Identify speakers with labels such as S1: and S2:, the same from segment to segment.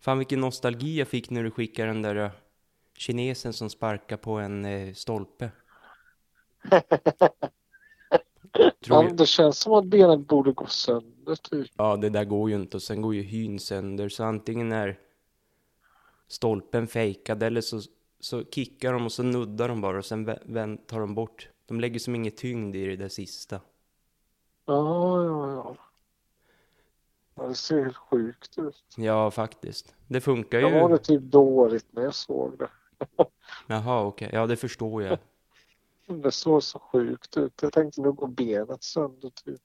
S1: Fan vilken nostalgi jag fick när du skickade den där eh, kinesen som sparkar på en eh, stolpe. Tror
S2: Ja,
S1: jag.
S2: det känns som att benet borde gå sönder typ.
S1: Ja, det där går ju inte och sen går ju hyn sönder. Så antingen är stolpen fejkad eller så, så kickar de och så nuddar de bara och sen vä- vän- tar de bort. De lägger som ingen tyngd i det där sista.
S2: Ja, ja, ja. ja. Det ser helt sjukt ut.
S1: Ja, faktiskt. Det funkar
S2: Jag var
S1: ju.
S2: det typ dåligt när jag såg det.
S1: Jaha, okej. Ja, det förstår jag.
S2: Det såg så sjukt ut. Jag tänkte nu går benet sönder typ.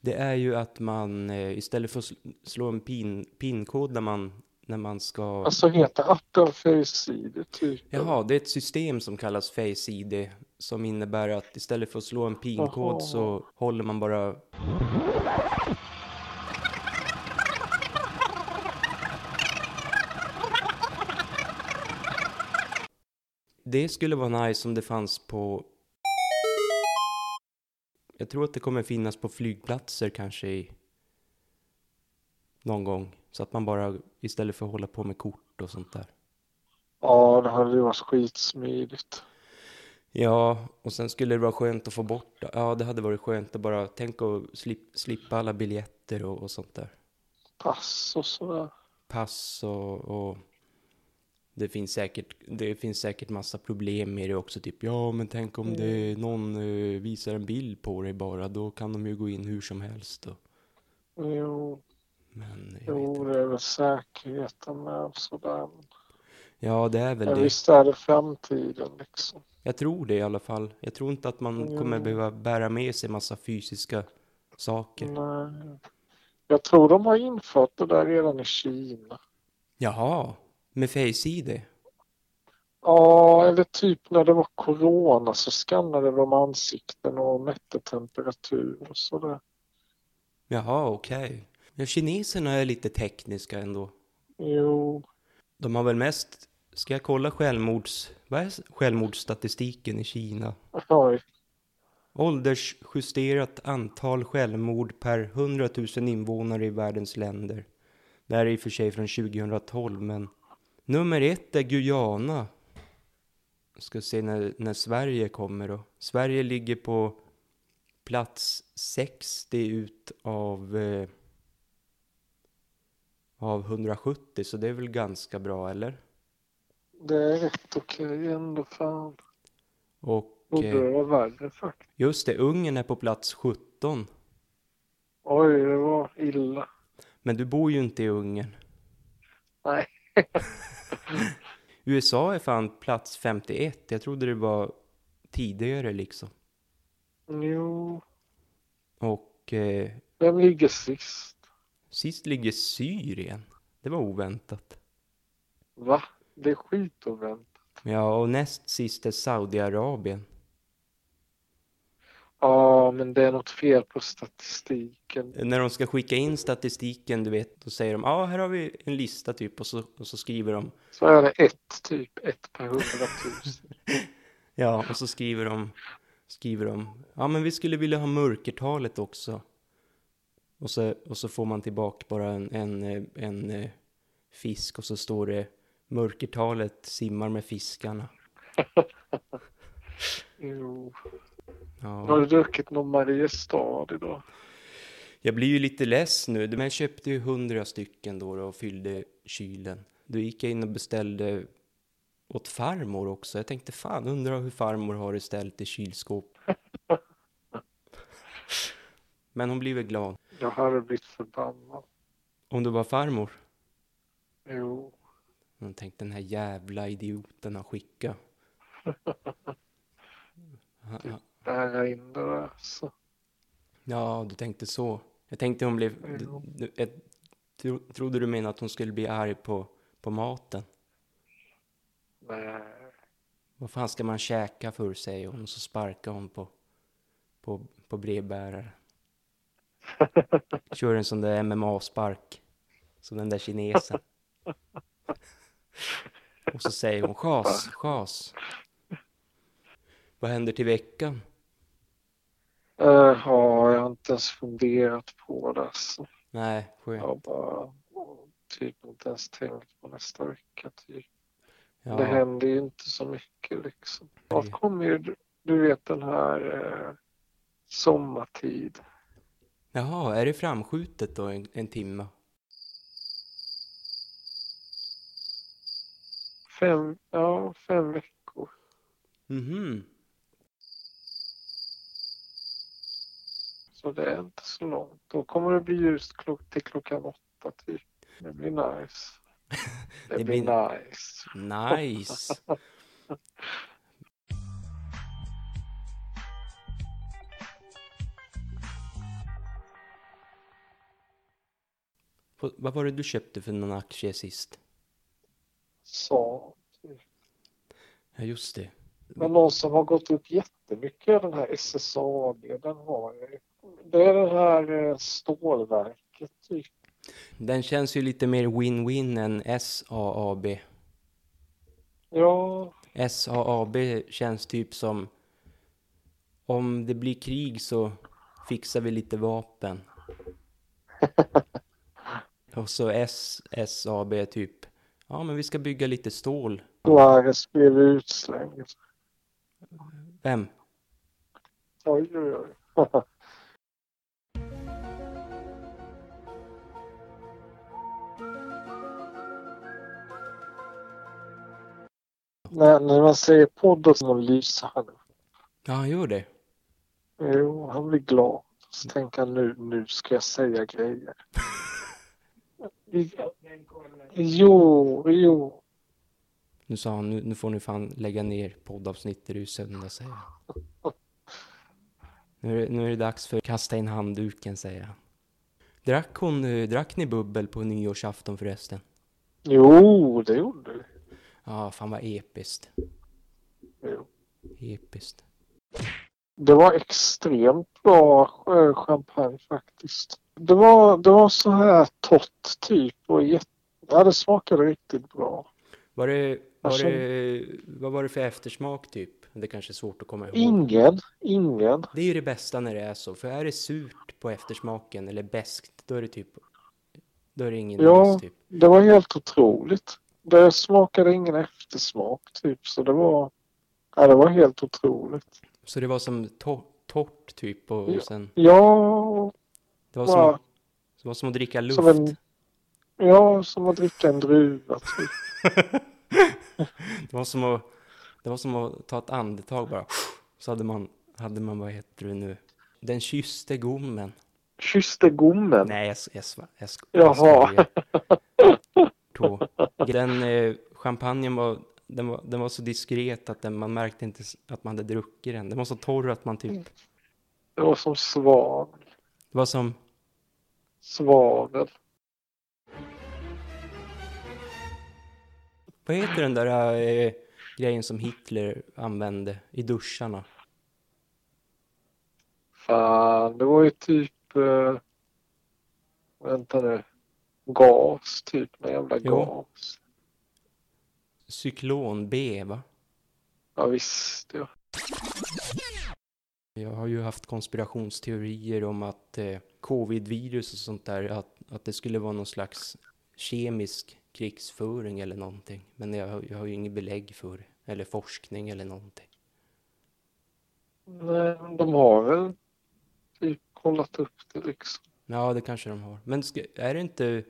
S1: Det är ju att man eh, istället för att sl- slå en pin, pinkod när man, när man ska...
S2: Alltså heter appen Face ID typ?
S1: Jaha, det är ett system som kallas Face ID som innebär att istället för att slå en
S2: Jaha.
S1: pinkod så håller man bara... Det skulle vara nice om det fanns på... Jag tror att det kommer finnas på flygplatser kanske i... någon gång. Så att man bara istället för att hålla på med kort och sånt där.
S2: Ja, det hade ju varit skitsmidigt.
S1: Ja, och sen skulle det vara skönt att få bort Ja, det hade varit skönt att bara tänk att slip, slippa alla biljetter och, och sånt där.
S2: Pass och sådär.
S1: Pass och, och det finns säkert, det finns säkert massa problem med det också. Typ, ja, men tänk om
S2: Mm.
S1: det någon eh, visar en bild på dig bara, då kan de ju gå in hur som helst. Och,
S2: Jo,
S1: men jag vet
S2: jo
S1: inte.
S2: det är väl säkerheten med och sådär.
S1: Ja, det är väl
S2: Men
S1: det.
S2: visst är det framtiden liksom.
S1: Jag tror det i alla fall. Jag tror inte att man kommer
S2: Jo.
S1: behöva bära med sig massa fysiska
S2: Mm.
S1: saker.
S2: Nej. Jag tror de har infört det där redan i Kina.
S1: Jaha, med Face-ID?
S2: Ja, eller typ när det var corona så skannade de ansikten och mätte temperatur och sådär.
S1: Jaha, okej. Ja, kineserna är lite tekniska ändå.
S2: Jo,
S1: De har väl mest... Ska jag kolla självmords... Vad är självmordsstatistiken i Kina?
S2: oj.
S1: Åldersjusterat antal självmord per 100 000 invånare i världens länder. Det här är i och för sig från 2012, men... Nummer ett är Guyana. Ska se när, när Sverige kommer då. Sverige ligger på plats 60 ut av... Eh, av 170, så det är väl ganska bra, eller?
S2: Det är rätt okej ändå fan.
S1: Och...
S2: Borde
S1: Eh,
S2: det vara värre faktiskt.
S1: just det, Ungern är på plats 17.
S2: Oj, det var illa.
S1: Men du bor ju inte i Ungern.
S2: Nej.
S1: USA är fan plats 51. Jag trodde det var tidigare liksom.
S2: Jo,
S1: Och eh,
S2: vem ligger sist?
S1: sist ligger Syrien. Det var oväntat.
S2: Va? Det är skitoväntat.
S1: Ja, och näst sist är Saudiarabien.
S2: Ja, men det är något fel på statistiken.
S1: När de ska skicka in statistiken, du vet, då säger de ja, ah, här har vi en lista typ och så, och så skriver de
S2: Så är det ett, typ ett per hundratusen.
S1: ja, och så skriver de skriver de ja, men vi skulle vilja ha mörkertalet också. Och så, och så får man tillbaka bara en, en, eh, en eh, fisk och så står det mörkertalet simmar med fiskarna.
S2: Jo. Har
S1: Ja.
S2: du druckit någon Mariestad idag?
S1: Jag blir ju lite less nu, men jag köpte ju hundra stycken då och fyllde kylen. Då gick jag in och beställde åt farmor också. Jag tänkte fan, undrar hur farmor har det ställt i kylskåp. Men hon blir väl glad.
S2: Jag hade blivit förbannad.
S1: Om du var farmor?
S2: Jo.
S1: Hon tänkte den här jävla idioten han skicka.
S2: Nära in det där. alltså. Så.
S1: Ja, du tänkte så. Jag tänkte hon blev... Du, du, jag tro, trodde du menade att hon skulle bli arg på, på maten.
S2: Nej.
S1: Vad fan ska man käka för, säger hon. Och så sparkar hon på, på, på brevbäraren. Kör en sån där MMA-spark. Som den där kinesen. Och så säger hon chas, chas. Vad händer till veckan?
S2: Äh, Uh, ja, jag har inte ens funderat på det. Så.
S1: Nej, skönt.
S2: Jag bara typ inte ens tänkt på nästa vecka. Typ. Det
S1: Ja,
S2: händer ju inte så mycket liksom.
S1: Nej.
S2: Snart kommer ju, du vet den här eh, sommartid.
S1: Jaha, är det framskjutet då en, en timme?
S2: Fem, ja, fem veckor.
S1: Mhm.
S2: Så det är inte så långt. Då kommer det bli ljust klo- till klockan åtta typ. Det blir nice. Det,
S1: Det
S2: blir
S1: blir-
S2: nice.
S1: Nice. Vad- Vad var det du köpte för någon aktie sist?
S2: Så.
S1: Ja, just det.
S2: Men någon som har gått upp jättemycket är den här SSAB. Den har ju- Det är det här eh, stålverket typ.
S1: Den känns ju lite mer win-win än SAAB.
S2: Ja,
S1: SAAB känns typ som om det blir krig så fixar vi lite vapen. Och så S- SAB är typ, ja men vi ska bygga lite stål.
S2: Suarez blev utslängd.
S1: Vem?
S2: Oj, oj, oj. när, när man säger podden så lyser han.
S1: Ja, han gör det.
S2: Jo, han blir glad. Så tänker han nu, nu ska jag säga grejer. jo, jo.
S1: Nu sa han, nu, nu får ni fan lägga ner poddavsnitt, det är ju söndag säger han. Nu är, det- nu är det dags för kasta in handduken säger han. Drack, hon, eh, drack ni bubbel på nyårsafton förresten?
S2: Jo, det gjorde vi.
S1: Ja, fan vad episkt.
S2: Jo.
S1: Episkt.
S2: Det var extremt bra eh, champagne faktiskt. Det var, det var så här torrt typ och jätte... Ja, det smakade riktigt bra.
S1: Var det, var
S2: Alltså-
S1: det, vad var det för eftersmak typ? Det kanske är svårt att komma ihåg.
S2: Ingen, ingen.
S1: Det är ju det bästa när det är så, för är det surt på eftersmaken eller beskt, då är det typ, då är det ingen
S2: Ja.
S1: alls typ.
S2: Det var helt otroligt. Det smakade ingen eftersmak typ så det var... Ja, det var helt otroligt.
S1: Så det var som tor torrt typ och
S2: Ja.
S1: sen,
S2: Ja,
S1: det var,
S2: Ja.
S1: som, det var som att dricka luft.
S2: som en... Ja, som att dricka en druva typ.
S1: Det var som att, det var som att ta ett andetag bara. Så hade man, hade man, vad heter det nu? Den kysste gommen.
S2: Kysste gommen.
S1: Nej, jag, s- jag, sva- jag, sk- jag
S2: Jaha.
S1: skojar. Tå. Den eh, champagnen var, den var, den var så diskret att den, man märkte inte s- att man hade druckit den. Den var så torr att man typ,
S2: Det var som svan.
S1: det var som,
S2: Svavel.
S1: vad heter den där eh, grejen som Hitler använde i duscharna?
S2: Fan, det var ju typ... Eh, vänta nu. Gas, typ. Någon jävla
S1: Jo.
S2: gas.
S1: Cyklon B, va?
S2: Ja, visst. Ja.
S1: Jag har ju haft konspirationsteorier om att eh, covid-virus och sånt där, att, att det skulle vara någon slags kemisk krigsföring eller någonting. Men jag, har- jag har ju inget belägg för det, eller forskning eller någonting.
S2: Nej, men de har väl typ kollat upp det liksom.
S1: Ja, det kanske de har. Men ska, är det inte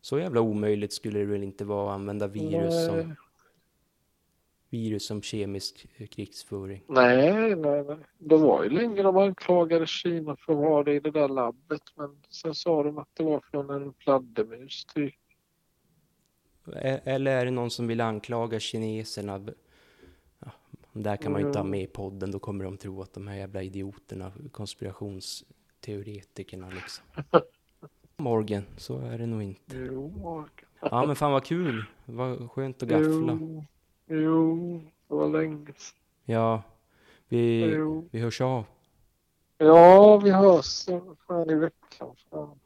S1: så jävla omöjligt skulle det väl inte vara att använda virus som,
S2: Nej.
S1: virus som kemisk eh, krigsföring?
S2: Nej, nej, nej. Det var ju länge de anklagade Kina för att ha det i det där labbet. Men sen sa de att det var från en fladdermus typ.
S1: E- Eller är det någon som vill anklaga kineserna? B- Ja, det där kan man ju inte
S2: Mm.
S1: ha med i podden, då kommer de tro att de här jävla idioterna, konspirationsteoretikerna liksom. Morgan, så är det nog inte.
S2: Jo,
S1: Ja men fan vad kul, vad skönt att gaffla.
S2: jo, jo. Det var länge sedan.
S1: Ja, vi,
S2: Jo.
S1: vi hörs av.
S2: Ja, vi hörs fan i veckan. Fan.